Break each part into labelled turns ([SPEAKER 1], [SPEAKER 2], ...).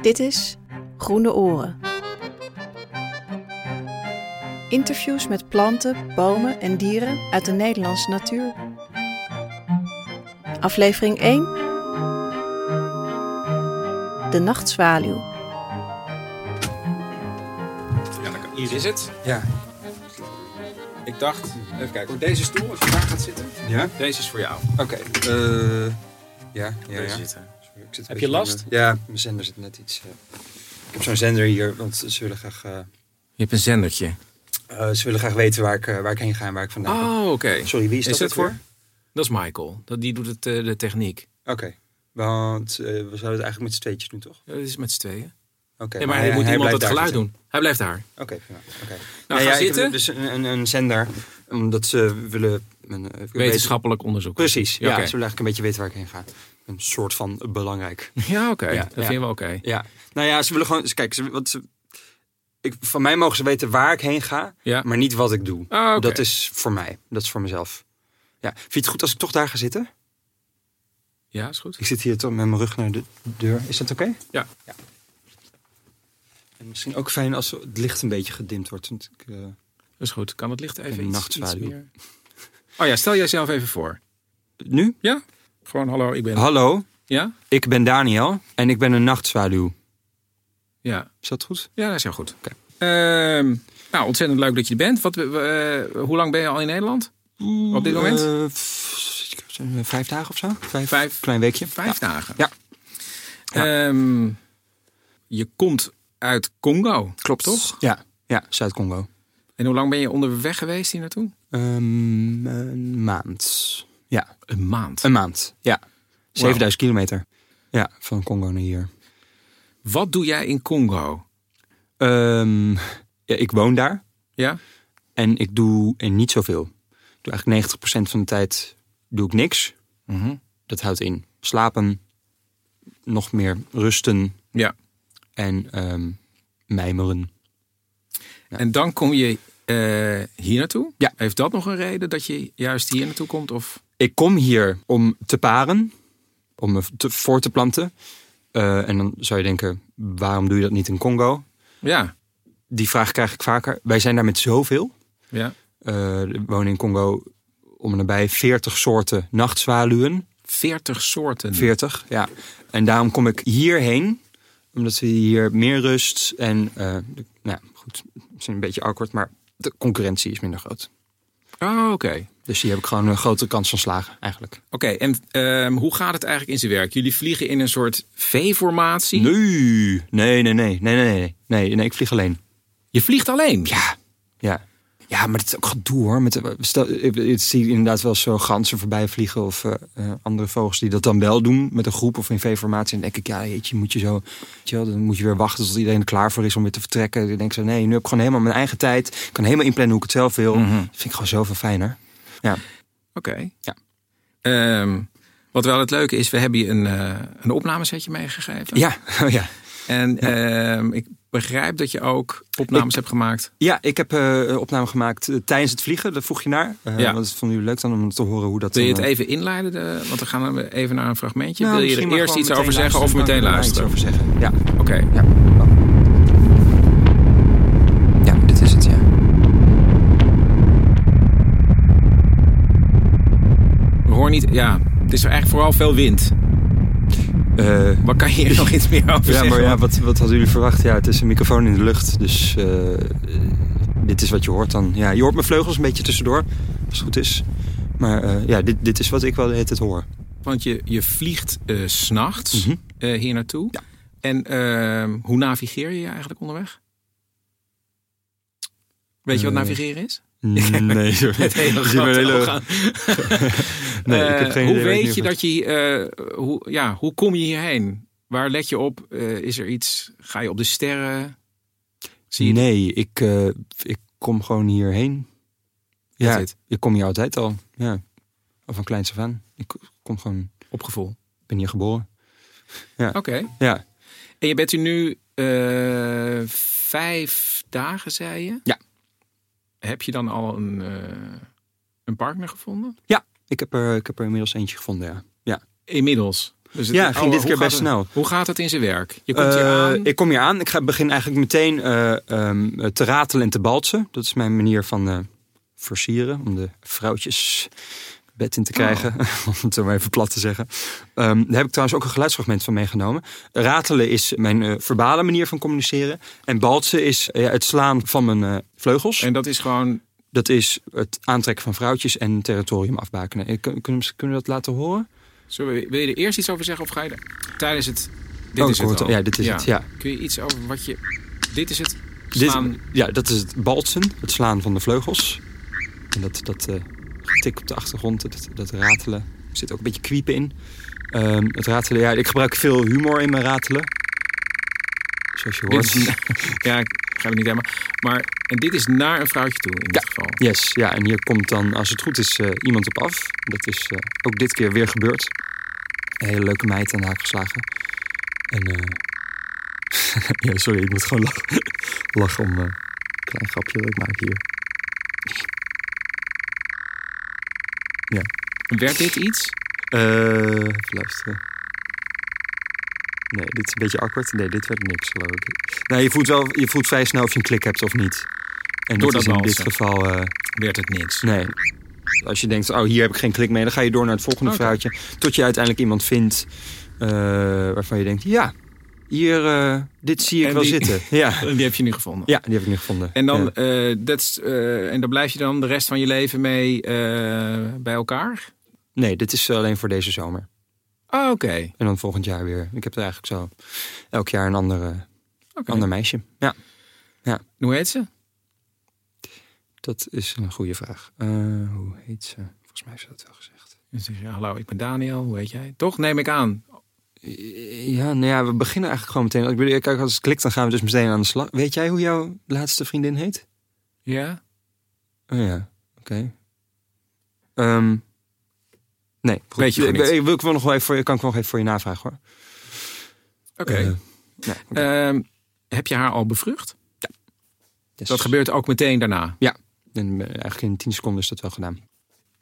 [SPEAKER 1] Dit is Groene Oren. Interviews met planten, bomen en dieren uit de Nederlandse natuur. Aflevering 1. De nachtzwaluw.
[SPEAKER 2] Ja, dat kan.
[SPEAKER 3] Hier is het.
[SPEAKER 2] Ja.
[SPEAKER 3] Ik dacht, even kijken hoor, deze stoel, als je daar gaat zitten,
[SPEAKER 2] Ja?
[SPEAKER 3] deze is voor jou.
[SPEAKER 2] Oké. eh, ja, ja,
[SPEAKER 3] Deze
[SPEAKER 2] ja.
[SPEAKER 3] zitten.
[SPEAKER 2] Sorry, ik zit
[SPEAKER 3] Heb je
[SPEAKER 2] een beetje
[SPEAKER 3] last?
[SPEAKER 2] met mijn- ja, mijn zender zit net iets... eh, Ik heb zo'n zender hier, want ze willen graag... eh,
[SPEAKER 3] Je hebt een zendertje.
[SPEAKER 2] eh, ze willen graag weten waar ik, eh, waar ik heen ga en waar ik vandaan kom.
[SPEAKER 3] Oh, oké.
[SPEAKER 2] Sorry, wie is,
[SPEAKER 3] Is
[SPEAKER 2] dat
[SPEAKER 3] dat
[SPEAKER 2] ook
[SPEAKER 3] voor?
[SPEAKER 2] weer?
[SPEAKER 3] Dat is Michael. Dat, die doet het, eh, de techniek.
[SPEAKER 2] Oké. Want eh, we zouden het eigenlijk met z'n tweetjes doen, toch?
[SPEAKER 3] Ja, Dat is met z'n tweeën.
[SPEAKER 2] Oké.
[SPEAKER 3] nee, maar, er moet iemand
[SPEAKER 2] blijft
[SPEAKER 3] het
[SPEAKER 2] daar
[SPEAKER 3] geluid
[SPEAKER 2] zitten.
[SPEAKER 3] doen. Hij blijft daar.
[SPEAKER 2] Oké, prima. Oké.
[SPEAKER 3] Nou, ga
[SPEAKER 2] ja, ik heb
[SPEAKER 3] zitten.
[SPEAKER 2] dus een, een, een zender, omdat ze willen... Een, eh, weten-
[SPEAKER 3] Wetenschappelijk onderzoek.
[SPEAKER 2] Precies, ja.
[SPEAKER 3] Ja, oké.
[SPEAKER 2] Ze willen eigenlijk een beetje weten waar ik heen ga. Een soort van belangrijk
[SPEAKER 3] Ja, oké.
[SPEAKER 2] Ja,
[SPEAKER 3] dat
[SPEAKER 2] ja.
[SPEAKER 3] vinden we oké.
[SPEAKER 2] Ja, nou ja, ze willen gewoon. ze- Kijk, ze, wat ze, ik, van mij mogen ze weten waar ik heen ga,
[SPEAKER 3] Ja.
[SPEAKER 2] maar niet wat ik doe.
[SPEAKER 3] Ah, oké.
[SPEAKER 2] Dat is voor mij, dat is voor mezelf. Ja, vind je het goed als ik toch daar ga zitten?
[SPEAKER 3] Ja, is goed.
[SPEAKER 2] Ik zit hier toch met mijn rug naar de deur. Is dat oké?
[SPEAKER 3] Ja.
[SPEAKER 2] En misschien ook fijn als het licht een beetje gedimd wordt. want ik, eh,
[SPEAKER 3] Dat is goed. Kan het licht even
[SPEAKER 2] Een
[SPEAKER 3] iets,
[SPEAKER 2] nachtzwaluw.
[SPEAKER 3] iets meer- Oh ja, stel jijzelf even voor.
[SPEAKER 2] nu?
[SPEAKER 3] Ja? Gewoon hallo, ik ben...
[SPEAKER 2] Hallo,
[SPEAKER 3] ja?
[SPEAKER 2] ik ben Daniel en ik ben een nachtzwaluw.
[SPEAKER 3] Ja.
[SPEAKER 2] Is dat goed?
[SPEAKER 3] Ja, dat is heel goed.
[SPEAKER 2] Oké.
[SPEAKER 3] Ehm, nou, ontzettend leuk dat je er bent. Wat, eh, hoe lang ben je al in Nederland? Op dit moment?
[SPEAKER 2] Eh, f- zijn we vijf dagen of zo? Vijf.
[SPEAKER 3] Vijf.
[SPEAKER 2] Klein weekje.
[SPEAKER 3] Vijf dagen.
[SPEAKER 2] Ja.
[SPEAKER 3] Ehm, je komt uit Congo.
[SPEAKER 2] Klopt
[SPEAKER 3] toch?
[SPEAKER 2] Ja, ja Zuid-Congo.
[SPEAKER 3] En hoe lang ben je onderweg geweest hier naartoe?
[SPEAKER 2] Ehm, een maand. Ja,
[SPEAKER 3] Een maand.
[SPEAKER 2] een maand. Ja. 7000 kilometer. Ja, van Congo naar hier.
[SPEAKER 3] Wat doe jij in Congo?
[SPEAKER 2] Ehm, ja, ik woon daar
[SPEAKER 3] Ja?
[SPEAKER 2] en ik doe en niet zoveel. Ik doe eigenlijk 90% van de tijd doe ik niks. Dat houdt in slapen, nog meer rusten
[SPEAKER 3] Ja.
[SPEAKER 2] en ehm, mijmeren.
[SPEAKER 3] En dan kom je eh, hier naartoe?
[SPEAKER 2] Ja.
[SPEAKER 3] Heeft dat nog een reden dat je juist hier naartoe komt? Of...
[SPEAKER 2] Ik kom hier om te paren, om me te, voor te planten. Eh, en dan zou je denken, waarom doe je dat niet in Congo?
[SPEAKER 3] Ja.
[SPEAKER 2] Die vraag krijg ik vaker. Wij zijn daar met zoveel.
[SPEAKER 3] ja.
[SPEAKER 2] eh er wonen in Congo om en nabij 40 soorten nachtzwaluwen.
[SPEAKER 3] 40 soorten.
[SPEAKER 2] 40, ja. En daarom kom ik hierheen, omdat we hier meer rust en, eh, de- nou ja, goed, misschien een beetje awkward, maar de concurrentie is minder groot.
[SPEAKER 3] Oh, oké.
[SPEAKER 2] Dus hier heb ik gewoon een grotere kans van slagen, eigenlijk.
[SPEAKER 3] Oké, en ehm, hoe gaat het eigenlijk in zijn werk? Jullie vliegen in een soort V-formatie.
[SPEAKER 2] Nee, nee, nee, nee, nee, nee, nee, nee, nee, ik vlieg alleen.
[SPEAKER 3] Je vliegt alleen.
[SPEAKER 2] Ja, ja. Ja, maar het is ook gedoe hoor. Met, eh, stel, ik, ik zie inderdaad wel zo ganzen voorbij vliegen of eh, eh, andere vogels die dat dan wel doen met een groep of in V-formatie. En dan denk ik, ja, jeetje, moet je zo, weet je wel, dan moet je weer wachten tot iedereen er klaar voor is om weer te vertrekken. Dan denk ik zo, nee, nu heb ik gewoon helemaal mijn eigen tijd. Ik kan helemaal inplannen hoe ik het zelf wil. Dat vind ik gewoon zoveel fijner. Mhm. Ja,
[SPEAKER 3] Oké.
[SPEAKER 2] Ja.
[SPEAKER 3] Ehm, wat wel het leuke is, we hebben je een, eh een opnamesetje meegegeven.
[SPEAKER 2] ja, oh ja.
[SPEAKER 3] En ehm, ik begrijp dat je ook opnames hebt gemaakt.
[SPEAKER 2] ja ik heb eh, een opname gemaakt eh, tijdens het vliegen. Daar vroeg je naar. Eh,
[SPEAKER 3] Ja.
[SPEAKER 2] Want het vond jullie leuk dan om te horen hoe dat...
[SPEAKER 3] Wil je het
[SPEAKER 2] dan, eh,
[SPEAKER 3] even inleiden? De, want dan gaan we even naar een fragmentje.
[SPEAKER 2] nou,
[SPEAKER 3] Wil je
[SPEAKER 2] misschien
[SPEAKER 3] er
[SPEAKER 2] maar
[SPEAKER 3] eerst
[SPEAKER 2] gewoon
[SPEAKER 3] iets over
[SPEAKER 2] meteen
[SPEAKER 3] zeggen of
[SPEAKER 2] luisteren,
[SPEAKER 3] meteen
[SPEAKER 2] dan kan
[SPEAKER 3] luisteren?
[SPEAKER 2] ik er iets over zeggen. Ja.
[SPEAKER 3] Oké.
[SPEAKER 2] Ja. Ja, dit is het, ja.
[SPEAKER 3] We horen niet. Ja, het is er eigenlijk vooral veel wind.
[SPEAKER 2] Eh,
[SPEAKER 3] Maar kan je hier nog iets meer over
[SPEAKER 2] ja,
[SPEAKER 3] zeggen?
[SPEAKER 2] maar ja, wat, wat hadden jullie verwacht? Ja, het is een microfoon in de lucht, dus eh, eh, dit is wat je hoort dan. Ja, je hoort mijn vleugels een beetje tussendoor, als het goed is. Maar eh, ja, dit, dit is wat ik wel de hele tijd hoor.
[SPEAKER 3] Want je, je vliegt eh, s s'nachts eh,
[SPEAKER 2] Mhm.
[SPEAKER 3] hier naartoe.
[SPEAKER 2] Ja.
[SPEAKER 3] En ehm, hoe navigeer je je eigenlijk onderweg? Weet je wat
[SPEAKER 2] Eh,
[SPEAKER 3] navigeren is?
[SPEAKER 2] Nee,
[SPEAKER 3] Het hele
[SPEAKER 2] zie mijn
[SPEAKER 3] grote
[SPEAKER 2] hele-
[SPEAKER 3] orgaan.
[SPEAKER 2] nee ik heb
[SPEAKER 3] Eh,
[SPEAKER 2] geen
[SPEAKER 3] hoe
[SPEAKER 2] idee waar
[SPEAKER 3] weet
[SPEAKER 2] ik nu
[SPEAKER 3] je
[SPEAKER 2] van-
[SPEAKER 3] dat je... eh, hoe, ja, hoe kom je hierheen? Waar let je op? Eh, is er iets? Ga je op de sterren? Zie je
[SPEAKER 2] Nee, ik, eh, ik kom gewoon hierheen.
[SPEAKER 3] That's
[SPEAKER 2] Ja,
[SPEAKER 3] it.
[SPEAKER 2] ik kom hier altijd al. Ja. Of van kleins af aan. Ik kom gewoon,
[SPEAKER 3] op gevoel?
[SPEAKER 2] ik ben hier geboren.
[SPEAKER 3] Oké.
[SPEAKER 2] Ja,
[SPEAKER 3] En je bent hier nu eh, vijf dagen, zei je?
[SPEAKER 2] Ja.
[SPEAKER 3] Heb je dan al een, eh, een partner gevonden?
[SPEAKER 2] ik heb er, ik heb er inmiddels eentje gevonden, ja.
[SPEAKER 3] Inmiddels. Dus
[SPEAKER 2] Ja, ging dit
[SPEAKER 3] hoe
[SPEAKER 2] keer
[SPEAKER 3] gaat
[SPEAKER 2] best
[SPEAKER 3] het-
[SPEAKER 2] snel.
[SPEAKER 3] Hoe gaat het in zijn werk? Je komt hier
[SPEAKER 2] Eh,
[SPEAKER 3] aan.
[SPEAKER 2] Ik kom hier aan. Ik ga begin eigenlijk meteen eh, ehm, te ratelen en te balsen. Dat is mijn manier van eh, versieren. Om de vrouwtjes bed in te krijgen.
[SPEAKER 3] Oh.
[SPEAKER 2] Om het zo maar even plat te zeggen. Ehm, daar heb ik trouwens ook een geluidsfragment van meegenomen. Ratelen is mijn eh, verbale manier van communiceren. En balsen is eh, ja, het slaan van mijn eh, vleugels.
[SPEAKER 3] En dat is gewoon
[SPEAKER 2] Dat is het aantrekken van vrouwtjes en territorium afbakenen. Eh, kun- Kunnen we- kunnen we dat laten horen?
[SPEAKER 3] Zullen we, wil je er eerst iets over zeggen of ga je er- tijdens het... Dit
[SPEAKER 2] Oh,
[SPEAKER 3] is
[SPEAKER 2] ik hoor
[SPEAKER 3] het
[SPEAKER 2] het
[SPEAKER 3] al.
[SPEAKER 2] al. Ja, dit is het, ja.
[SPEAKER 3] Kun je iets over wat je... Dit is het
[SPEAKER 2] Dit,
[SPEAKER 3] slaan.
[SPEAKER 2] ja, dat is het baltsen, het slaan van de vleugels. En dat, dat eh, getik op de achtergrond, dat, dat ratelen. Er zit ook een beetje kwiepen in. Ehm, het ratelen, ja, ik gebruik veel humor in mijn ratelen. Zoals je
[SPEAKER 3] Dit
[SPEAKER 2] hoort.
[SPEAKER 3] is, ja, ik begrijp het niet helemaal. Maar en dit is naar een vrouwtje toe in dit geval.
[SPEAKER 2] Yes, ja, en hier komt dan, als het goed is, eh, iemand op af. Dat is eh, ook dit keer weer gebeurd. Een hele leuke meid aan de haak geslagen. En, eh, ja, sorry, ik moet gewoon lachen, lachen om eh, een klein grapje dat ik maak hier.
[SPEAKER 3] Werd dit iets?
[SPEAKER 2] Eh, even luisteren. Nee, dit is een beetje awkward. Nee, dit werd niks, geloof ik. Nou, je voelt, wel, je voelt vrij snel of je een klik hebt of niet. En
[SPEAKER 3] Door
[SPEAKER 2] dat is
[SPEAKER 3] dat
[SPEAKER 2] in dit
[SPEAKER 3] dansen.
[SPEAKER 2] geval... eh,
[SPEAKER 3] Werd het niks?
[SPEAKER 2] nee. Als je denkt, oh, hier heb ik geen klik mee. Dan ga je door naar het volgende
[SPEAKER 3] Oké.
[SPEAKER 2] vrouwtje. Tot je uiteindelijk iemand vindt eh, waarvan je denkt... Ja, hier, eh, dit zie ik
[SPEAKER 3] En
[SPEAKER 2] wel
[SPEAKER 3] die-
[SPEAKER 2] zitten. Ja.
[SPEAKER 3] Die heb je nu gevonden.
[SPEAKER 2] ja, die heb ik nu gevonden.
[SPEAKER 3] En, dan,
[SPEAKER 2] Ja.
[SPEAKER 3] eh, dat is, eh, en daar blijf je dan de rest van je leven mee eh, bij elkaar?
[SPEAKER 2] Nee, dit is alleen voor deze zomer.
[SPEAKER 3] Oh, oké.
[SPEAKER 2] En dan volgend jaar weer. Ik heb er eigenlijk zo elk jaar een andere,
[SPEAKER 3] Oké.
[SPEAKER 2] ander meisje. Ja.
[SPEAKER 3] Hoe heet ze?
[SPEAKER 2] Dat is een goede vraag. Eh, hoe heet ze? Volgens mij is dat wel gezegd.
[SPEAKER 3] Dan zeg je, hallo, ik ben Daniel. Hoe heet jij? Toch? Neem ik aan.
[SPEAKER 2] Eh, Ja, nou ja, we beginnen eigenlijk gewoon meteen. Ik bedoel, kijk, als het klikt, dan gaan we dus meteen aan de slag. Weet jij hoe jouw laatste vriendin heet?
[SPEAKER 3] Ja?
[SPEAKER 2] Oh ja, oké. Ehm, nee, goed.
[SPEAKER 3] Weet je
[SPEAKER 2] Eh,
[SPEAKER 3] gewoon niet.
[SPEAKER 2] eh, wil ik wel nog wel even voor je, kan ik wel nog even voor je navragen hoor.
[SPEAKER 3] Oké.
[SPEAKER 2] Eh, nee, oké.
[SPEAKER 3] Ehm, heb je haar al bevrucht?
[SPEAKER 2] Yes.
[SPEAKER 3] Dus Dat gebeurt ook meteen daarna.
[SPEAKER 2] En, eh, eigenlijk dus in 10 seconden is dat wel gedaan.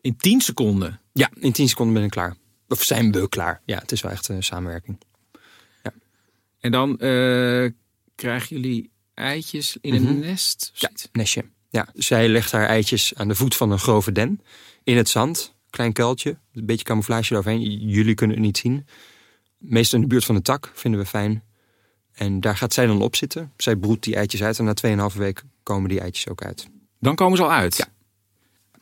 [SPEAKER 3] In 10 seconden.
[SPEAKER 2] Ja, in 10 seconden ben ik klaar. Of zijn we klaar? Ja, het is wel echt een samenwerking.
[SPEAKER 3] En dan eh, krijgen jullie eitjes in een
[SPEAKER 2] Mhm.
[SPEAKER 3] nest?
[SPEAKER 2] Ja, nestje. Ja, zij legt haar eitjes aan de voet van een grove den. In het zand. Klein kuiltje. Een beetje camouflage eroverheen. J- Jullie kunnen het niet zien. Meestal in de buurt van de tak. Vinden we fijn. En daar gaat zij dan op zitten. Zij broedt die eitjes uit. En na 2,5 week komen die eitjes ook uit.
[SPEAKER 3] Dan komen ze al uit?
[SPEAKER 2] Ja.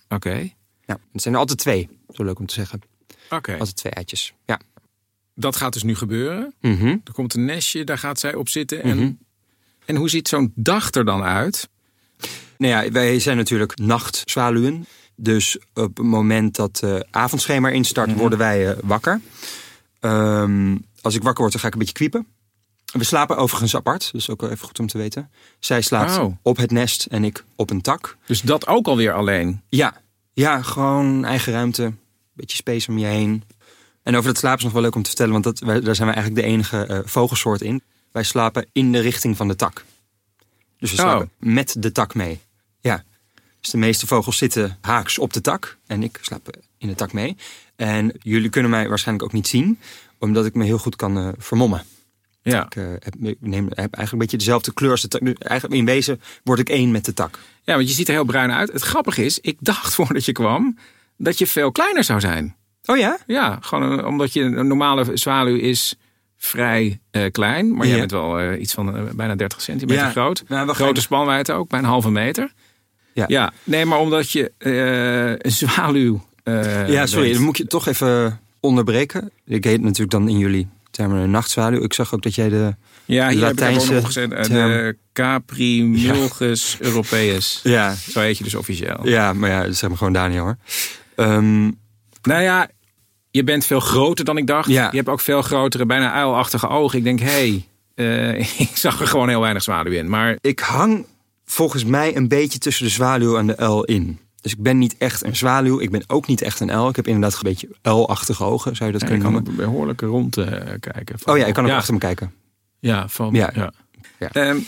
[SPEAKER 3] Oké.
[SPEAKER 2] Ja, het zijn er altijd twee. Zo leuk om te zeggen.
[SPEAKER 3] Oké.
[SPEAKER 2] Altijd twee eitjes. Ja.
[SPEAKER 3] Dat gaat dus nu gebeuren.
[SPEAKER 2] Mhm.
[SPEAKER 3] Er komt een nestje, daar gaat zij op zitten. En,
[SPEAKER 2] Mhm.
[SPEAKER 3] en hoe ziet zo'n dag er dan uit?
[SPEAKER 2] Nou ja, wij zijn natuurlijk nachtzwaluwen. Dus op het moment dat eh avondschema instart, worden wij eh, wakker. Ehm, als ik wakker word, dan ga ik een beetje kwiepen. We slapen overigens apart, dus ook wel even goed om te weten. Zij slaapt
[SPEAKER 3] Oh.
[SPEAKER 2] op het nest en ik op een tak.
[SPEAKER 3] Dus dat ook alweer alleen.
[SPEAKER 2] Ja, ja gewoon eigen ruimte. Beetje space om je heen. En over dat slapen is nog wel leuk om te vertellen, want dat, wij- daar zijn we eigenlijk de enige eh, vogelsoort in. Wij slapen in de richting van de tak. Dus
[SPEAKER 3] Oh.
[SPEAKER 2] we slapen met de tak mee. Ja. Dus de meeste vogels zitten haaks op de tak. En ik slaap eh, in de tak mee. En jullie kunnen mij waarschijnlijk ook niet zien, omdat ik me heel goed kan eh, vermommen.
[SPEAKER 3] Ja.
[SPEAKER 2] Ik, eh, heb, ik neem, heb eigenlijk een beetje dezelfde kleur als de tak. Dus eigenlijk in wezen word ik één met de tak.
[SPEAKER 3] ja, want je ziet er heel bruin uit. Het grappige is, ik dacht voordat je kwam dat je veel kleiner zou zijn.
[SPEAKER 2] Oh ja?
[SPEAKER 3] Ja, gewoon een- omdat je een normale zwaluw is vrij eh, klein. Maar jij
[SPEAKER 2] Ja.
[SPEAKER 3] bent wel eh, iets van eh, bijna 30 centimeter
[SPEAKER 2] Ja.
[SPEAKER 3] groot.
[SPEAKER 2] Nou, we gaan-
[SPEAKER 3] Grote spanwijdte ook, bijna een halve meter.
[SPEAKER 2] Ja.
[SPEAKER 3] ja. Nee, maar omdat je eh, een zwaluw eh,
[SPEAKER 2] Ja, sorry,
[SPEAKER 3] bent.
[SPEAKER 2] dan moet ik je toch even onderbreken. Ik heet natuurlijk dan in jullie termen een nachtzwaluw. Ik zag ook dat jij de...
[SPEAKER 3] Ja, hier heb ik
[SPEAKER 2] Latijnse
[SPEAKER 3] gewoon opgezet. eh, De
[SPEAKER 2] term.
[SPEAKER 3] Capri Mulgus Europeus.
[SPEAKER 2] Ja,
[SPEAKER 3] Zo heet je dus officieel.
[SPEAKER 2] ja maar ja, zeg maar gewoon Daniel hoor. Ehm,
[SPEAKER 3] Nou ja, je bent veel groter dan ik dacht.
[SPEAKER 2] Ja.
[SPEAKER 3] Je hebt ook veel grotere, bijna uilachtige ogen. Ik denk, hé, hey, eh, ik zag er gewoon heel weinig zwaluw in. Maar
[SPEAKER 2] ik hang volgens mij een beetje tussen de zwaluw en de L in. Dus ik ben niet echt een zwaluw. Ik ben ook niet echt een L. Ik heb inderdaad een beetje L-achtige ogen, zou je dat
[SPEAKER 3] ik
[SPEAKER 2] kunnen
[SPEAKER 3] kan
[SPEAKER 2] noemen.
[SPEAKER 3] ook behoorlijk rond eh, kijken. Van-
[SPEAKER 2] Oh ja, ik kan ook
[SPEAKER 3] ja,
[SPEAKER 2] achter me kijken.
[SPEAKER 3] Ja, van,
[SPEAKER 2] Ja.
[SPEAKER 3] ja.
[SPEAKER 2] Ja.
[SPEAKER 3] Ehm,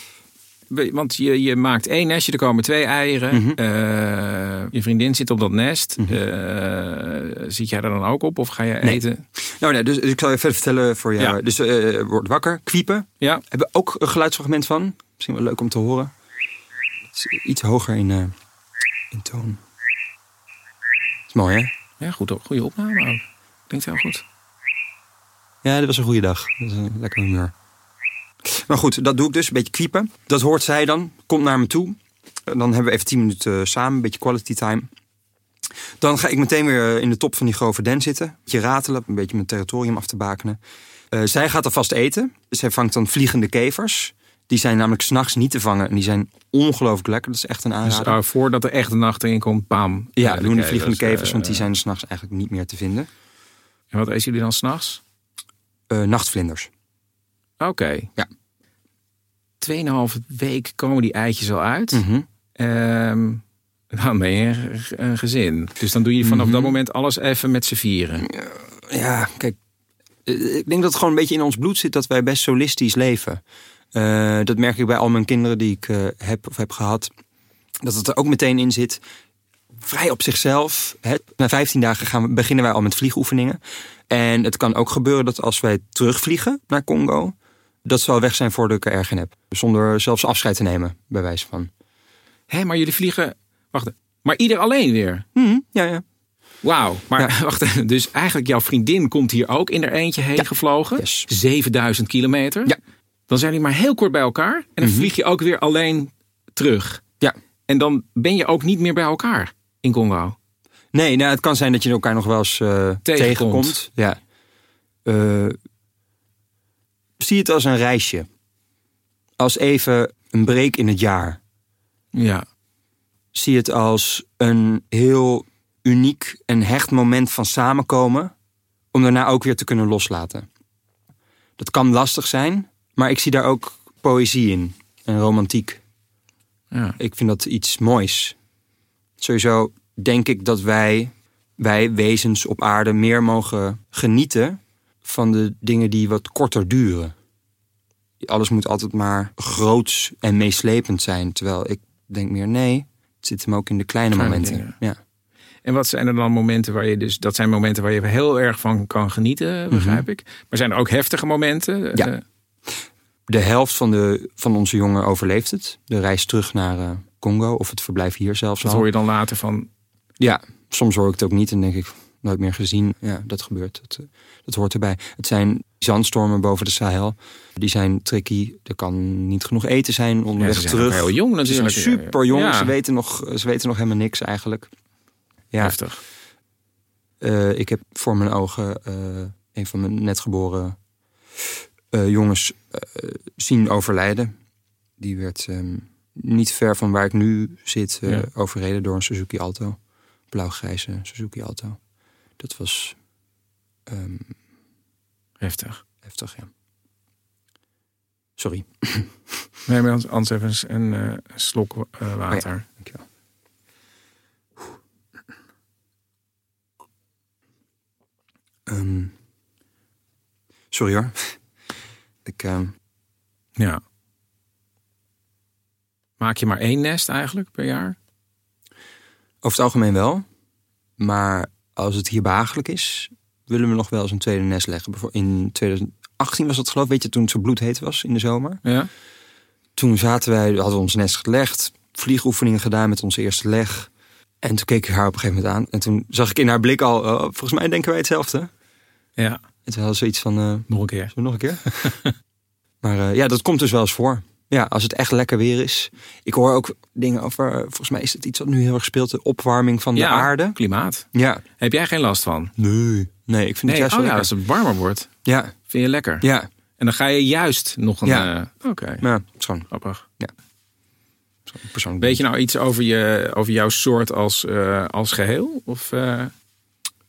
[SPEAKER 3] we- want je, je maakt één nestje, er komen twee eieren.
[SPEAKER 2] Mhm.
[SPEAKER 3] Eh, je vriendin zit op dat nest.
[SPEAKER 2] Mhm.
[SPEAKER 3] Eh, zit jij er dan ook op of ga je
[SPEAKER 2] Nee.
[SPEAKER 3] eten?
[SPEAKER 2] Nou, nee, dus ik zal je verder vertellen voor jou.
[SPEAKER 3] Ja.
[SPEAKER 2] Dus eh word wakker, kwiepen.
[SPEAKER 3] Ja,
[SPEAKER 2] Hebben we ook een geluidsfragment van. Misschien wel leuk om te horen. Het is iets hoger in, eh, in toon. is mooi, hè?
[SPEAKER 3] ja goed, goede opname ook. Klinkt heel goed.
[SPEAKER 2] Ja, dat was een goede dag. Dat is een lekker humeur. Maar goed, dat doe ik dus. Een beetje kwiepen. Dat hoort zij dan. Komt naar me toe. En Dan hebben we even 10 minuten eh, samen. Een beetje quality time. Dan ga ik meteen weer eh, in de top van die grove den zitten. Een beetje ratelen. Een beetje mijn territorium af te bakenen. Eh, zij gaat er vast eten. Zij vangt dan vliegende kevers. Die zijn namelijk s'nachts niet te vangen. En die zijn ongelooflijk lekker. Dat is echt een
[SPEAKER 3] Dus
[SPEAKER 2] aanrader.
[SPEAKER 3] ah, voordat er echt de nacht in komt, bam.
[SPEAKER 2] ja, doen de vliegende
[SPEAKER 3] eh,
[SPEAKER 2] kevers. Want die zijn s'nachts eigenlijk niet meer te vinden.
[SPEAKER 3] En wat eten jullie dan s'nachts?
[SPEAKER 2] Eh, nachtvlinders.
[SPEAKER 3] Oké.
[SPEAKER 2] Ja.
[SPEAKER 3] Tweeënhalve week komen die eitjes al uit.
[SPEAKER 2] Mhm.
[SPEAKER 3] Ehm, dan ben je een g- een gezin. Dus dan doe je vanaf
[SPEAKER 2] Mhm.
[SPEAKER 3] dat moment alles even met z'n vieren.
[SPEAKER 2] ja, kijk, eh, ik denk dat het gewoon een beetje in ons bloed zit dat wij best solistisch leven. Eh, dat merk ik bij al mijn kinderen die ik eh, heb of heb gehad. Dat het er ook meteen in zit. Vrij op zichzelf. Hè. Na 15 dagen gaan we, beginnen wij al met vliegoefeningen. En het kan ook gebeuren dat als wij terugvliegen naar Congo, dat ze al weg zijn voordat ik er erg in heb. Zonder zelfs afscheid te nemen, bij wijze van.
[SPEAKER 3] Hé, maar jullie vliegen... Wacht, maar ieder alleen weer?
[SPEAKER 2] Hm, ja, ja.
[SPEAKER 3] Wauw. Maar
[SPEAKER 2] Ja.
[SPEAKER 3] wacht, dus eigenlijk jouw vriendin komt hier ook in haar eentje heen gevlogen.
[SPEAKER 2] Yes.
[SPEAKER 3] 7000 kilometer.
[SPEAKER 2] Ja. Mhm.
[SPEAKER 3] Dan zijn jullie maar heel kort bij elkaar. En dan vlieg je ook weer alleen terug.
[SPEAKER 2] Ja.
[SPEAKER 3] En dan ben je ook niet meer bij elkaar in Congo.
[SPEAKER 2] Nee, nou, het kan zijn dat je elkaar nog wel eens eh, tegenkomt. Ja. Eh, zie het als een reisje. Als even een break in het jaar.
[SPEAKER 3] Ja.
[SPEAKER 2] Zie het als een heel uniek en hecht moment van samenkomen. Om daarna ook weer te kunnen loslaten. Dat kan lastig zijn, maar ik zie daar ook poëzie in. En romantiek.
[SPEAKER 3] ja.
[SPEAKER 2] Ik vind dat iets moois. Sowieso denk ik dat wij, wij wezens op aarde meer mogen genieten van de dingen die wat korter duren. Alles moet altijd maar groots en meeslepend zijn. Terwijl ik denk meer, nee, het zit hem ook in de kleine,
[SPEAKER 3] Kleine
[SPEAKER 2] momenten.
[SPEAKER 3] dingen.
[SPEAKER 2] Ja.
[SPEAKER 3] En wat zijn er dan momenten waar je dus... Dat zijn momenten waar je heel erg van kan genieten, begrijp ik. Maar zijn er ook heftige momenten?
[SPEAKER 2] Mhm. Ja.
[SPEAKER 3] Eh,
[SPEAKER 2] De helft van, de, van onze jongen overleeft het. De reis terug naar eh, Congo of het verblijf hier zelfs
[SPEAKER 3] dat
[SPEAKER 2] al.
[SPEAKER 3] hoor je dan later van...
[SPEAKER 2] Ja, soms hoor ik het ook niet en denk ik, nooit meer gezien. Ja, dat gebeurt. Dat, eh, dat hoort erbij. Het zijn zandstormen boven de Sahel. Die zijn tricky. Er kan niet genoeg eten zijn
[SPEAKER 3] Ja,
[SPEAKER 2] onderweg
[SPEAKER 3] ze zijn
[SPEAKER 2] terug.
[SPEAKER 3] ook heel jong
[SPEAKER 2] ze zijn
[SPEAKER 3] natuurlijk.
[SPEAKER 2] super jong.
[SPEAKER 3] Ja,
[SPEAKER 2] Ze, weten nog, ze weten nog helemaal niks eigenlijk. Ja,
[SPEAKER 3] Heftig.
[SPEAKER 2] eh, ik heb voor mijn ogen eh, een van mijn netgeboren eh, jongens eh, zien overlijden. Die werd ehm, niet ver van waar ik nu zit eh,
[SPEAKER 3] Ja.
[SPEAKER 2] overreden door een Suzuki Alto. Blauw-grijze Suzuki Alto. Dat was ehm,
[SPEAKER 3] Heftig.
[SPEAKER 2] heftig, ja. Sorry.
[SPEAKER 3] Nee, maar anders even eens een eh, slok eh, water.
[SPEAKER 2] Dankjewel. Ehm, sorry hoor. Ik, ehm,
[SPEAKER 3] ja. Maak je maar één nest eigenlijk per jaar?
[SPEAKER 2] Over het algemeen wel. Maar als het hier behagelijk is, willen we nog wel eens een tweede nest leggen. Bijvoor- In 2018 was dat geloof ik, weet je, toen het zo bloedheet was in de zomer.
[SPEAKER 3] Ja.
[SPEAKER 2] Toen zaten wij, hadden we ons nest gelegd, vliegoefeningen gedaan met onze eerste leg. En toen keek ik haar op een gegeven moment aan. En toen zag ik in haar blik al, oh, volgens mij denken wij hetzelfde.
[SPEAKER 3] Ja,
[SPEAKER 2] En toen hadden ze iets van, eh,
[SPEAKER 3] nog een keer.
[SPEAKER 2] Zullen we nog een keer? maar eh, ja, dat komt dus wel eens voor. Ja, als het echt lekker weer is. Ik hoor ook dingen over, eh, volgens mij is het iets wat nu heel erg speelt, de opwarming van de
[SPEAKER 3] ja,
[SPEAKER 2] aarde.
[SPEAKER 3] klimaat.
[SPEAKER 2] Ja.
[SPEAKER 3] Heb jij geen last van?
[SPEAKER 2] Nee. Nee, ik vind
[SPEAKER 3] Nee,
[SPEAKER 2] het juist
[SPEAKER 3] oh
[SPEAKER 2] wel
[SPEAKER 3] ja, als
[SPEAKER 2] lekker.
[SPEAKER 3] het warmer wordt,
[SPEAKER 2] Ja,
[SPEAKER 3] vind je lekker.
[SPEAKER 2] ja.
[SPEAKER 3] En dan ga je juist nog een...
[SPEAKER 2] Ja.
[SPEAKER 3] eh, Oké,
[SPEAKER 2] ja. Het is gewoon
[SPEAKER 3] grappig.
[SPEAKER 2] zo'n persoonlijk.
[SPEAKER 3] Weet je nou iets over, je, over jouw soort als, eh, als geheel? Of eh,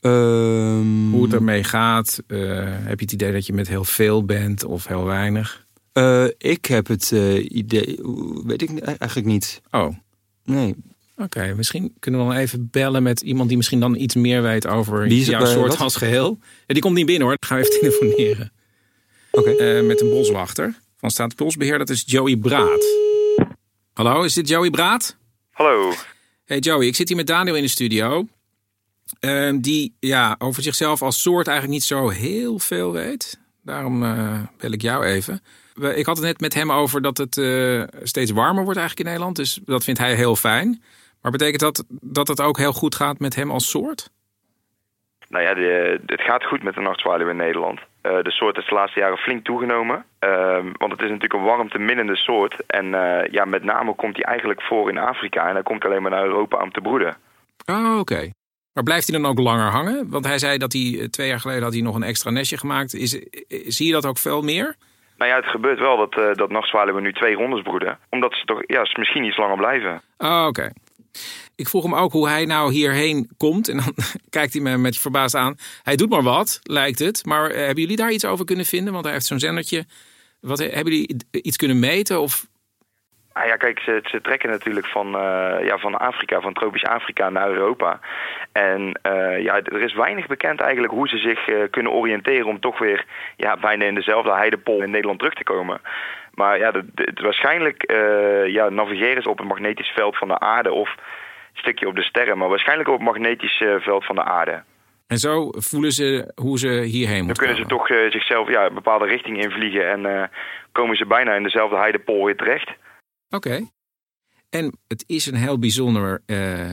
[SPEAKER 2] Ehm,
[SPEAKER 3] hoe het ermee gaat? Eh, heb je het idee dat je met heel veel bent of heel weinig?
[SPEAKER 2] eh, ik heb het eh, idee, weet ik ni- eigenlijk niet.
[SPEAKER 3] Oh,
[SPEAKER 2] Nee.
[SPEAKER 3] Oké, misschien kunnen we dan even bellen met iemand die misschien dan iets meer weet over
[SPEAKER 2] Wie is het
[SPEAKER 3] jouw
[SPEAKER 2] bij-
[SPEAKER 3] soort
[SPEAKER 2] wat?
[SPEAKER 3] als geheel. Ja, die komt niet binnen hoor, dan gaan we even telefoneren.
[SPEAKER 2] Oké.
[SPEAKER 3] Eh, met een boswachter van Staatsbosbeheer, dat is Joey Braat. Hallo, is dit Joey Braat?
[SPEAKER 4] Hallo.
[SPEAKER 3] Hey Joey, ik zit hier met Daniel in de studio. Ehm, die ja, over zichzelf als soort eigenlijk niet zo heel veel weet. Daarom eh, bel ik jou even. We- Ik had het net met hem over dat het eh, steeds warmer wordt eigenlijk in Nederland. Dus dat vindt hij heel fijn. Maar betekent dat dat het ook heel goed gaat met hem als soort?
[SPEAKER 4] Nou ja, de, het gaat goed met de nachtzwaluw in Nederland. Eh, de soort is de laatste jaren flink toegenomen. Ehm, want het is natuurlijk een warmteminnende soort. En eh, ja, met name komt die eigenlijk voor in Afrika. En hij komt alleen maar naar Europa om te broeden.
[SPEAKER 3] Oh, oké. Maar blijft hij dan ook langer hangen? Want hij zei dat hij eh, twee jaar geleden had hij nog een extra nestje gemaakt. Is, eh, zie je dat ook veel meer?
[SPEAKER 4] Nou ja, het gebeurt wel dat, eh dat nachtzwaluwen nu twee rondes broeden. Omdat ze toch ja, ze misschien iets langer blijven.
[SPEAKER 3] Oh, oké. Ik vroeg hem ook hoe hij nou hierheen komt. En dan kijkt hij me met verbaasd aan. Hij doet maar wat, lijkt het. Maar eh, hebben jullie daar iets over kunnen vinden? Want hij heeft zo'n zendertje. Wat, eh, hebben jullie iets kunnen meten? Of...
[SPEAKER 4] Ah ja, kijk, ze, ze trekken natuurlijk van, eh, ja, van Afrika, van tropisch Afrika naar Europa. En eh, ja, er is weinig bekend eigenlijk hoe ze zich eh, kunnen oriënteren om toch weer ja, bijna in dezelfde heidepol in Nederland terug te komen. Maar ja, dat- dat- waarschijnlijk eh, ja, navigeren ze op het magnetisch veld van de aarde of een stukje op de sterren, maar waarschijnlijk op het magnetisch eh, veld van de aarde.
[SPEAKER 3] En zo voelen ze hoe ze hierheen
[SPEAKER 4] Dan
[SPEAKER 3] moeten
[SPEAKER 4] kunnen ze
[SPEAKER 3] komen.
[SPEAKER 4] toch eh, zichzelf ja, een bepaalde richting invliegen en eh, komen ze bijna in dezelfde heidepol weer terecht.
[SPEAKER 3] Oké. En het is een heel bijzonder eh,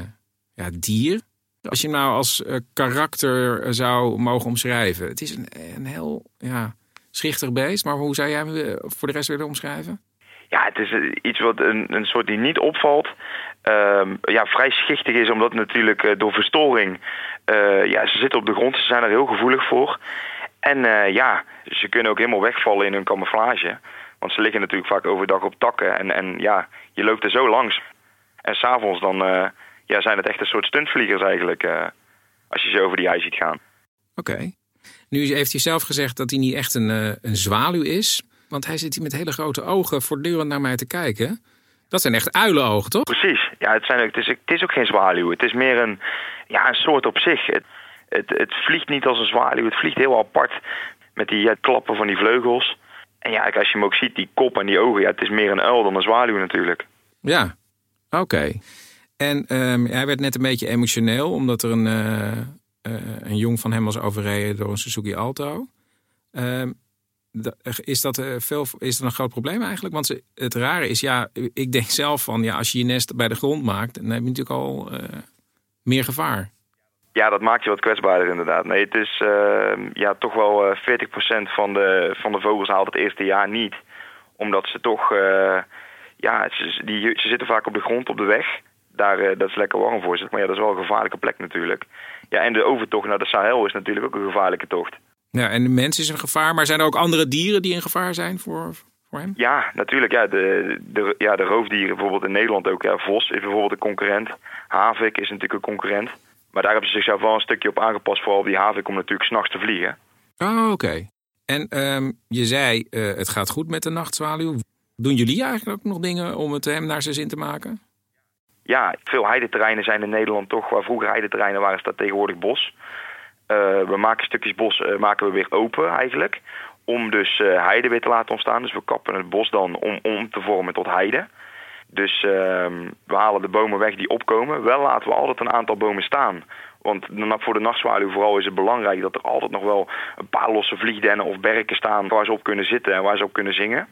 [SPEAKER 3] ja, dier. Als je hem nou als eh, karakter eh, zou mogen omschrijven. Het is een, een heel ja, schichtig beest. Maar hoe zou jij hem eh, voor de rest willen omschrijven?
[SPEAKER 4] Ja, het is eh, iets wat een, een soort die niet opvalt. Ehm, ja, vrij schichtig is, omdat natuurlijk eh, door verstoring. eh, ja, ze zitten op de grond, ze zijn er heel gevoelig voor. En eh, ja, ze kunnen ook helemaal wegvallen in hun camouflage. Want ze liggen natuurlijk vaak overdag op takken. En, en ja, je loopt er zo langs. En s'avonds dan eh, ja, zijn het echt een soort stuntvliegers eigenlijk. eh, als je ze over die hei ziet gaan.
[SPEAKER 3] Oké. Nu heeft hij zelf gezegd dat hij niet echt een, eh, een zwaluw is. Want hij zit hier met hele grote ogen voortdurend naar mij te kijken. Dat zijn echt uilenogen, toch?
[SPEAKER 4] Precies. Ja, het, zijn ook, het, is, het is ook geen zwaluw. Het is meer een, ja, een soort op zich. Het, het, het vliegt niet als een zwaluw. Het vliegt heel apart met die ja, klappen van die vleugels. En ja, als je hem ook ziet, die kop en die ogen. Ja, het is meer een uil dan een zwaluw natuurlijk.
[SPEAKER 3] Ja, oké. En ehm, hij werd net een beetje emotioneel, omdat er een, eh, eh, een jong van hem was overreden door een Suzuki Alto. Ehm, da- is, dat, eh, veel, is dat een groot probleem eigenlijk? Want ze- het rare is, ja, ik denk zelf van, ja, als je je nest bij de grond maakt, dan heb je natuurlijk al eh, meer gevaar.
[SPEAKER 4] Ja, dat maakt je wat kwetsbaarder inderdaad. Nee, het is eh, ja, toch wel eh, 40% van de, van de vogels haalt het eerste jaar niet. Omdat ze toch, eh, ja, ze, die, ze zitten vaak op de grond, op de weg. Daar, eh, dat is lekker warm voor ze. Maar ja, dat is wel een gevaarlijke plek natuurlijk. Ja, en de overtocht naar de Sahel is natuurlijk ook een gevaarlijke tocht.
[SPEAKER 3] Ja, en de mens is een gevaar, maar zijn er ook andere dieren die een gevaar zijn voor, voor hem?
[SPEAKER 4] Ja, natuurlijk. Ja, de, de, ja, de roofdieren bijvoorbeeld in Nederland ook. Ja, vos is bijvoorbeeld een concurrent. Havik is natuurlijk een concurrent. Maar daar hebben ze zichzelf wel een stukje op aangepast. Vooral op die havik om natuurlijk s'nachts te vliegen.
[SPEAKER 3] Oh, oké. En ehm, je zei, eh, het gaat goed met de nachtzwaluw. Doen jullie eigenlijk ook nog dingen om het hem naar zijn zin te maken?
[SPEAKER 4] ja, veel heideterreinen zijn in Nederland toch, waar vroeger heideterreinen waren, staat tegenwoordig bos. Eh, we maken stukjes bos eh, maken we weer open eigenlijk. Om dus eh, heide weer te laten ontstaan. Dus we kappen het bos dan om om te vormen tot heide. Dus ehm, we halen de bomen weg die opkomen. Wel laten we altijd een aantal bomen staan. Want na- voor de nachtzwaluw vooral is het belangrijk dat er altijd nog wel een paar losse vliegdennen of berken staan waar ze op kunnen zitten en waar ze op kunnen zingen.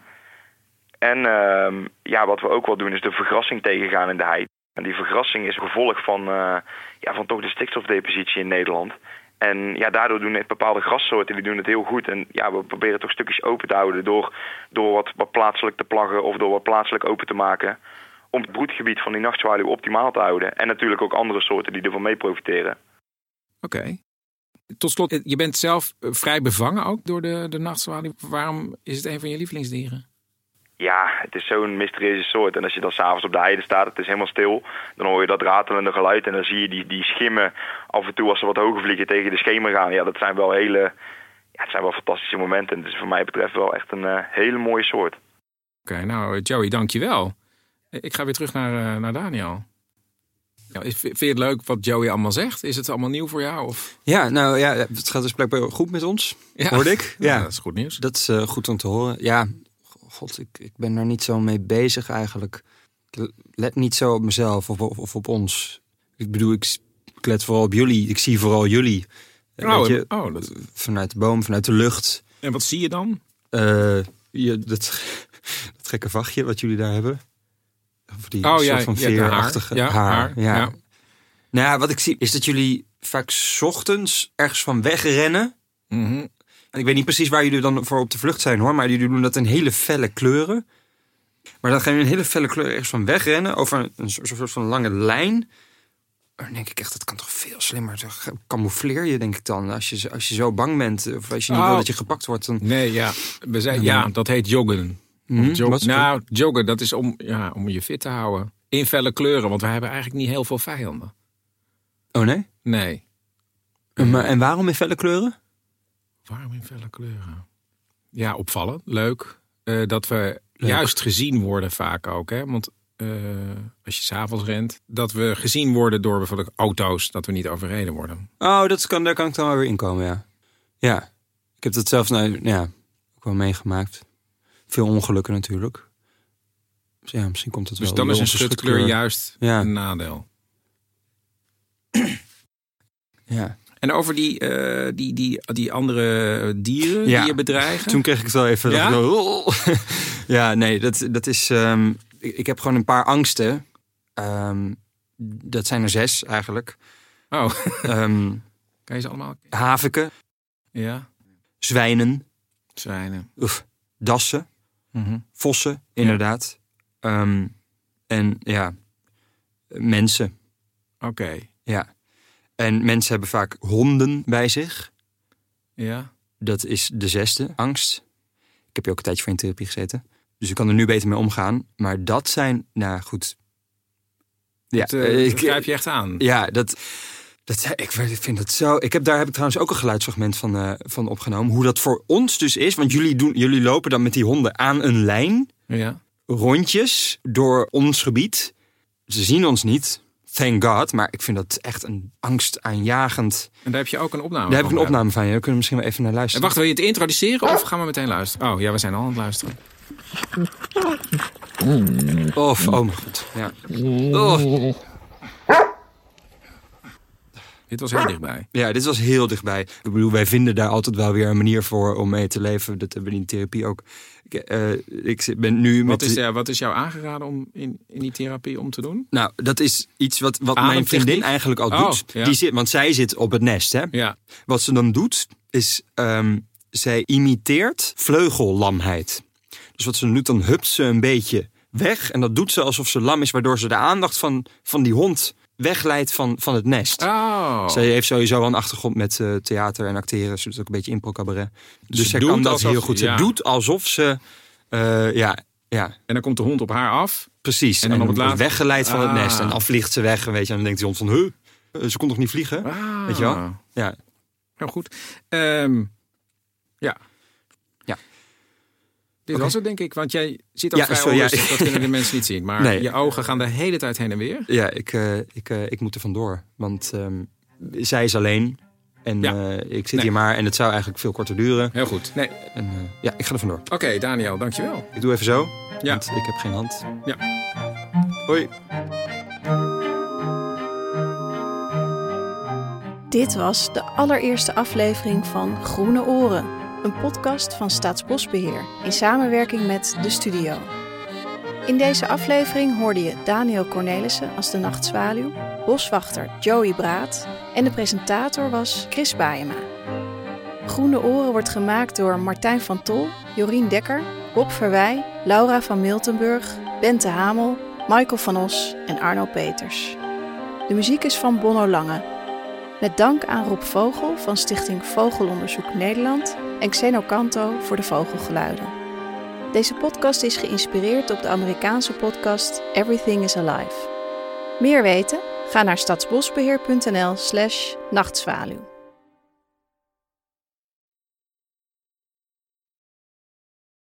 [SPEAKER 4] En ehm, ja, wat we ook wel doen is de vergrassing tegengaan in de heide. En die vergrassing is een gevolg van, eh, ja, van toch de stikstofdepositie in Nederland. En ja, daardoor doen het bepaalde grassoorten die doen het heel goed. En ja, we proberen toch stukjes open te houden door, door wat, wat plaatselijk te plaggen of door wat plaatselijk open te maken. Om het broedgebied van die nachtzwaluw optimaal te houden. En natuurlijk ook andere soorten die ervan mee profiteren.
[SPEAKER 3] Oké. Tot slot, eh, je bent zelf eh, vrij bevangen ook door de, de nachtzwaluw. Waarom is het een van je lievelingsdieren?
[SPEAKER 4] Ja, het is zo'n mysterieuze soort. En als je dan s'avonds op de heide staat, het is helemaal stil. Dan hoor je dat ratelende geluid en dan zie je die, die schimmen af en toe als ze wat hoger vliegen tegen de schemer gaan. Ja, dat zijn wel hele, ja, het zijn wel fantastische momenten. Het is voor mij betreft wel echt een eh, hele mooie soort.
[SPEAKER 3] Oké, nou eh, Joey, dankjewel. Eh, Ik ga weer terug naar, eh, naar Daniel. Ja, is- vind je het leuk wat Joey allemaal zegt? Is het allemaal nieuw voor jou? Of?
[SPEAKER 2] Ja, nou ja, het gaat dus blijkbaar goed met ons,
[SPEAKER 3] Ja.
[SPEAKER 2] hoorde ik.
[SPEAKER 3] Ja, dat is goed nieuws.
[SPEAKER 2] Dat is eh, goed om te horen. Ja, god, ik, ik ben daar niet zo mee bezig eigenlijk. ik let niet zo op mezelf of, of, of op ons. Ik bedoel, ik, s- ik let vooral op jullie. Ik zie vooral jullie. Eh,
[SPEAKER 3] Oh,
[SPEAKER 2] weet je,
[SPEAKER 3] en- oh, dat- Oh,
[SPEAKER 2] Vanuit de boom, vanuit de lucht.
[SPEAKER 3] En wat zie je dan?
[SPEAKER 2] Eh, je, dat, dat gekke vachtje wat jullie daar hebben. Of die
[SPEAKER 3] Oh
[SPEAKER 2] soort
[SPEAKER 3] ja,
[SPEAKER 2] van
[SPEAKER 3] ja, de
[SPEAKER 2] veerachtige
[SPEAKER 3] haar. Ja, haar,
[SPEAKER 2] ja.
[SPEAKER 3] ja.
[SPEAKER 2] Nou ja, wat ik zie is dat jullie vaak 's ochtends ergens van wegrennen.
[SPEAKER 3] Mhm.
[SPEAKER 2] En ik weet niet precies waar jullie dan voor op de vlucht zijn hoor. Maar jullie doen dat in hele felle kleuren. Maar dan gaan jullie in hele felle kleuren ergens van wegrennen. Over een, een soort soort van lange lijn. Dan denk ik echt, dat kan toch veel slimmer. Dan ge- Camoufleer je denk ik dan. Als je, als je zo bang bent of als je niet
[SPEAKER 3] Oh.
[SPEAKER 2] wil dat je gepakt wordt. Dan...
[SPEAKER 3] Nee, ja. We zijn, ja, dat heet joggen.
[SPEAKER 2] Hm,
[SPEAKER 3] Jog-
[SPEAKER 2] wat-
[SPEAKER 3] nou, joggen, dat is om, ja, om je fit te houden. In felle kleuren, want wij hebben eigenlijk niet heel veel vijanden.
[SPEAKER 2] Oh nee?
[SPEAKER 3] Nee.
[SPEAKER 2] Maar, en waarom in felle kleuren?
[SPEAKER 3] Waarom in felle kleuren? Ja, opvallen. Leuk. Eh, dat we juist gezien worden vaak ook. Hè? Want eh, als je s'avonds rent, dat we gezien worden door bijvoorbeeld auto's. Dat we niet overreden worden.
[SPEAKER 2] Oh, dat kan, daar kan ik dan wel weer inkomen, ja. Ja, ik heb dat zelf nou, ja, ook wel meegemaakt. Veel ongelukken natuurlijk. Dus ja, misschien komt het
[SPEAKER 3] Dus
[SPEAKER 2] wel
[SPEAKER 3] dan
[SPEAKER 2] door
[SPEAKER 3] is een
[SPEAKER 2] onze
[SPEAKER 3] schutkleur juist
[SPEAKER 2] Ja.
[SPEAKER 3] een nadeel.
[SPEAKER 2] Ja.
[SPEAKER 3] En over die, eh, die, die, die andere dieren
[SPEAKER 2] Ja.
[SPEAKER 3] die je bedreigen.
[SPEAKER 2] Toen kreeg ik het wel even...
[SPEAKER 3] Ja?
[SPEAKER 2] dat ik zo- ja, nee, dat, dat is... ehm, ik, ik heb gewoon een paar angsten. Ehm, dat zijn er zes eigenlijk.
[SPEAKER 3] Oh,
[SPEAKER 2] Ehm
[SPEAKER 3] kan je ze allemaal?
[SPEAKER 2] haviken,
[SPEAKER 3] Ja,
[SPEAKER 2] zwijnen,
[SPEAKER 3] zwijnen.
[SPEAKER 2] oef, dassen.
[SPEAKER 3] Mhm.
[SPEAKER 2] Vossen, inderdaad. Ehm, en ja, mensen.
[SPEAKER 3] Oké,
[SPEAKER 2] Ja. En mensen hebben vaak honden bij zich.
[SPEAKER 3] ja.
[SPEAKER 2] Dat is de zesde angst. Ik heb hier ook een tijdje voor in therapie gezeten. Dus ik kan er nu beter mee omgaan. Maar dat zijn, nou goed. Ja,
[SPEAKER 3] dat, eh,
[SPEAKER 2] ik-
[SPEAKER 3] dat grijp je echt aan.
[SPEAKER 2] ja, dat, dat, ik vind dat zo. Ik heb, daar heb ik trouwens ook een geluidsfragment van, eh, van opgenomen. Hoe dat voor ons dus is. Want jullie, doen, jullie lopen dan met die honden aan een lijn.
[SPEAKER 3] Ja.
[SPEAKER 2] rondjes door ons gebied. Ze zien ons niet, thank god. Maar ik vind dat echt een angstaanjagend...
[SPEAKER 3] En daar heb je ook een opname
[SPEAKER 2] Daar heb ik
[SPEAKER 3] van
[SPEAKER 2] een
[SPEAKER 3] gedaan.
[SPEAKER 2] opname Ah. van. Ja, Daar kunnen we misschien wel even naar
[SPEAKER 3] En
[SPEAKER 2] luisteren.
[SPEAKER 3] wacht, wil je het introduceren of gaan we meteen luisteren? Oh ja, we zijn al aan het luisteren.
[SPEAKER 2] Of, oh mijn god. Ja. Oh,
[SPEAKER 3] Dit was
[SPEAKER 2] Ah.
[SPEAKER 3] heel dichtbij.
[SPEAKER 2] ja, dit was heel dichtbij. Ik bedoel, wij vinden daar altijd wel weer een manier voor om mee te leven. Dat hebben we in therapie ook. Ik, eh, ik zit- ben nu met...
[SPEAKER 3] Wat is, eh, wat is jou aangeraden om in, in die therapie om te doen?
[SPEAKER 2] Nou, dat is iets wat, wat mijn
[SPEAKER 3] Ademtechniek?
[SPEAKER 2] vriendin eigenlijk al doet.
[SPEAKER 3] Ah, Oh, ja.
[SPEAKER 2] Die zit, want zij zit op het nest, hè?
[SPEAKER 3] Ja.
[SPEAKER 2] Wat ze dan doet, is ehm, zij imiteert vleugellamheid. Dus wat ze dan doet, dan hupt ze een beetje weg. En dat doet ze alsof ze lam is, waardoor ze de aandacht van, van die hond wegleidt van, van het nest.
[SPEAKER 3] Oh.
[SPEAKER 2] Zij heeft sowieso wel een achtergrond met eh, theater en acteren. Ze doet ook een beetje impro-cabaret. Dus,
[SPEAKER 3] ze
[SPEAKER 2] zij
[SPEAKER 3] doet
[SPEAKER 2] kan dat
[SPEAKER 3] alsof-
[SPEAKER 2] heel goed. Ze
[SPEAKER 3] ja.
[SPEAKER 2] doet alsof ze... eh, ja, ja,
[SPEAKER 3] En dan komt de hond op haar af.
[SPEAKER 2] precies.
[SPEAKER 3] En dan op het
[SPEAKER 2] wordt
[SPEAKER 3] laatst-
[SPEAKER 2] weggeleid van het
[SPEAKER 3] Ah.
[SPEAKER 2] nest. En dan vliegt ze weg. Weet je, en dan denkt die hond van... Huh? Eh, Ze kon toch niet vliegen?
[SPEAKER 3] Ah.
[SPEAKER 2] Weet je wel? Ja,
[SPEAKER 3] Nou goed. Ehm, ja.
[SPEAKER 2] Ja.
[SPEAKER 3] Dit
[SPEAKER 2] Oké.
[SPEAKER 3] was het, denk ik. Want jij zit ook
[SPEAKER 2] Ja,
[SPEAKER 3] vrij
[SPEAKER 2] sorry, ja.
[SPEAKER 3] onrustig. Dat kunnen de mensen niet zien. Maar
[SPEAKER 2] Nee.
[SPEAKER 3] je ogen gaan de hele tijd heen en weer.
[SPEAKER 2] Ja, ik, eh, ik, eh, ik moet er vandoor. Want ehm, zij is alleen. En
[SPEAKER 3] Ja.
[SPEAKER 2] eh, ik zit
[SPEAKER 3] Nee.
[SPEAKER 2] hier maar. En het zou eigenlijk veel korter duren.
[SPEAKER 3] Heel goed. Nee. Oké,
[SPEAKER 2] En, eh, ja, ik ga er vandoor.
[SPEAKER 3] Daniel. Dankjewel.
[SPEAKER 2] Ik doe even zo.
[SPEAKER 3] Ja.
[SPEAKER 2] Want ik heb geen hand.
[SPEAKER 3] Ja.
[SPEAKER 2] Hoi.
[SPEAKER 1] Dit was de allereerste aflevering van Groene Oren, een podcast van Staatsbosbeheer in samenwerking met de studio. In deze aflevering hoorde je Daniel Cornelissen als de nachtzwaluw, boswachter Joey Braat en de presentator was Chris Baaiema. Groene Oren wordt gemaakt door Martijn van Tol, Jorien Dekker, Bob Verwij, Laura van Miltenburg, Bente Hamel, Michael van Os en Arno Peters. De muziek is van Bonno Lange. Met dank aan Rob Vogel van Stichting Vogelonderzoek Nederland en Xeno Canto voor de vogelgeluiden. Deze podcast is geïnspireerd op de Amerikaanse podcast Everything is Alive. Meer weten? Ga naar stadsbosbeheer.nl/slash nachtzwaluw.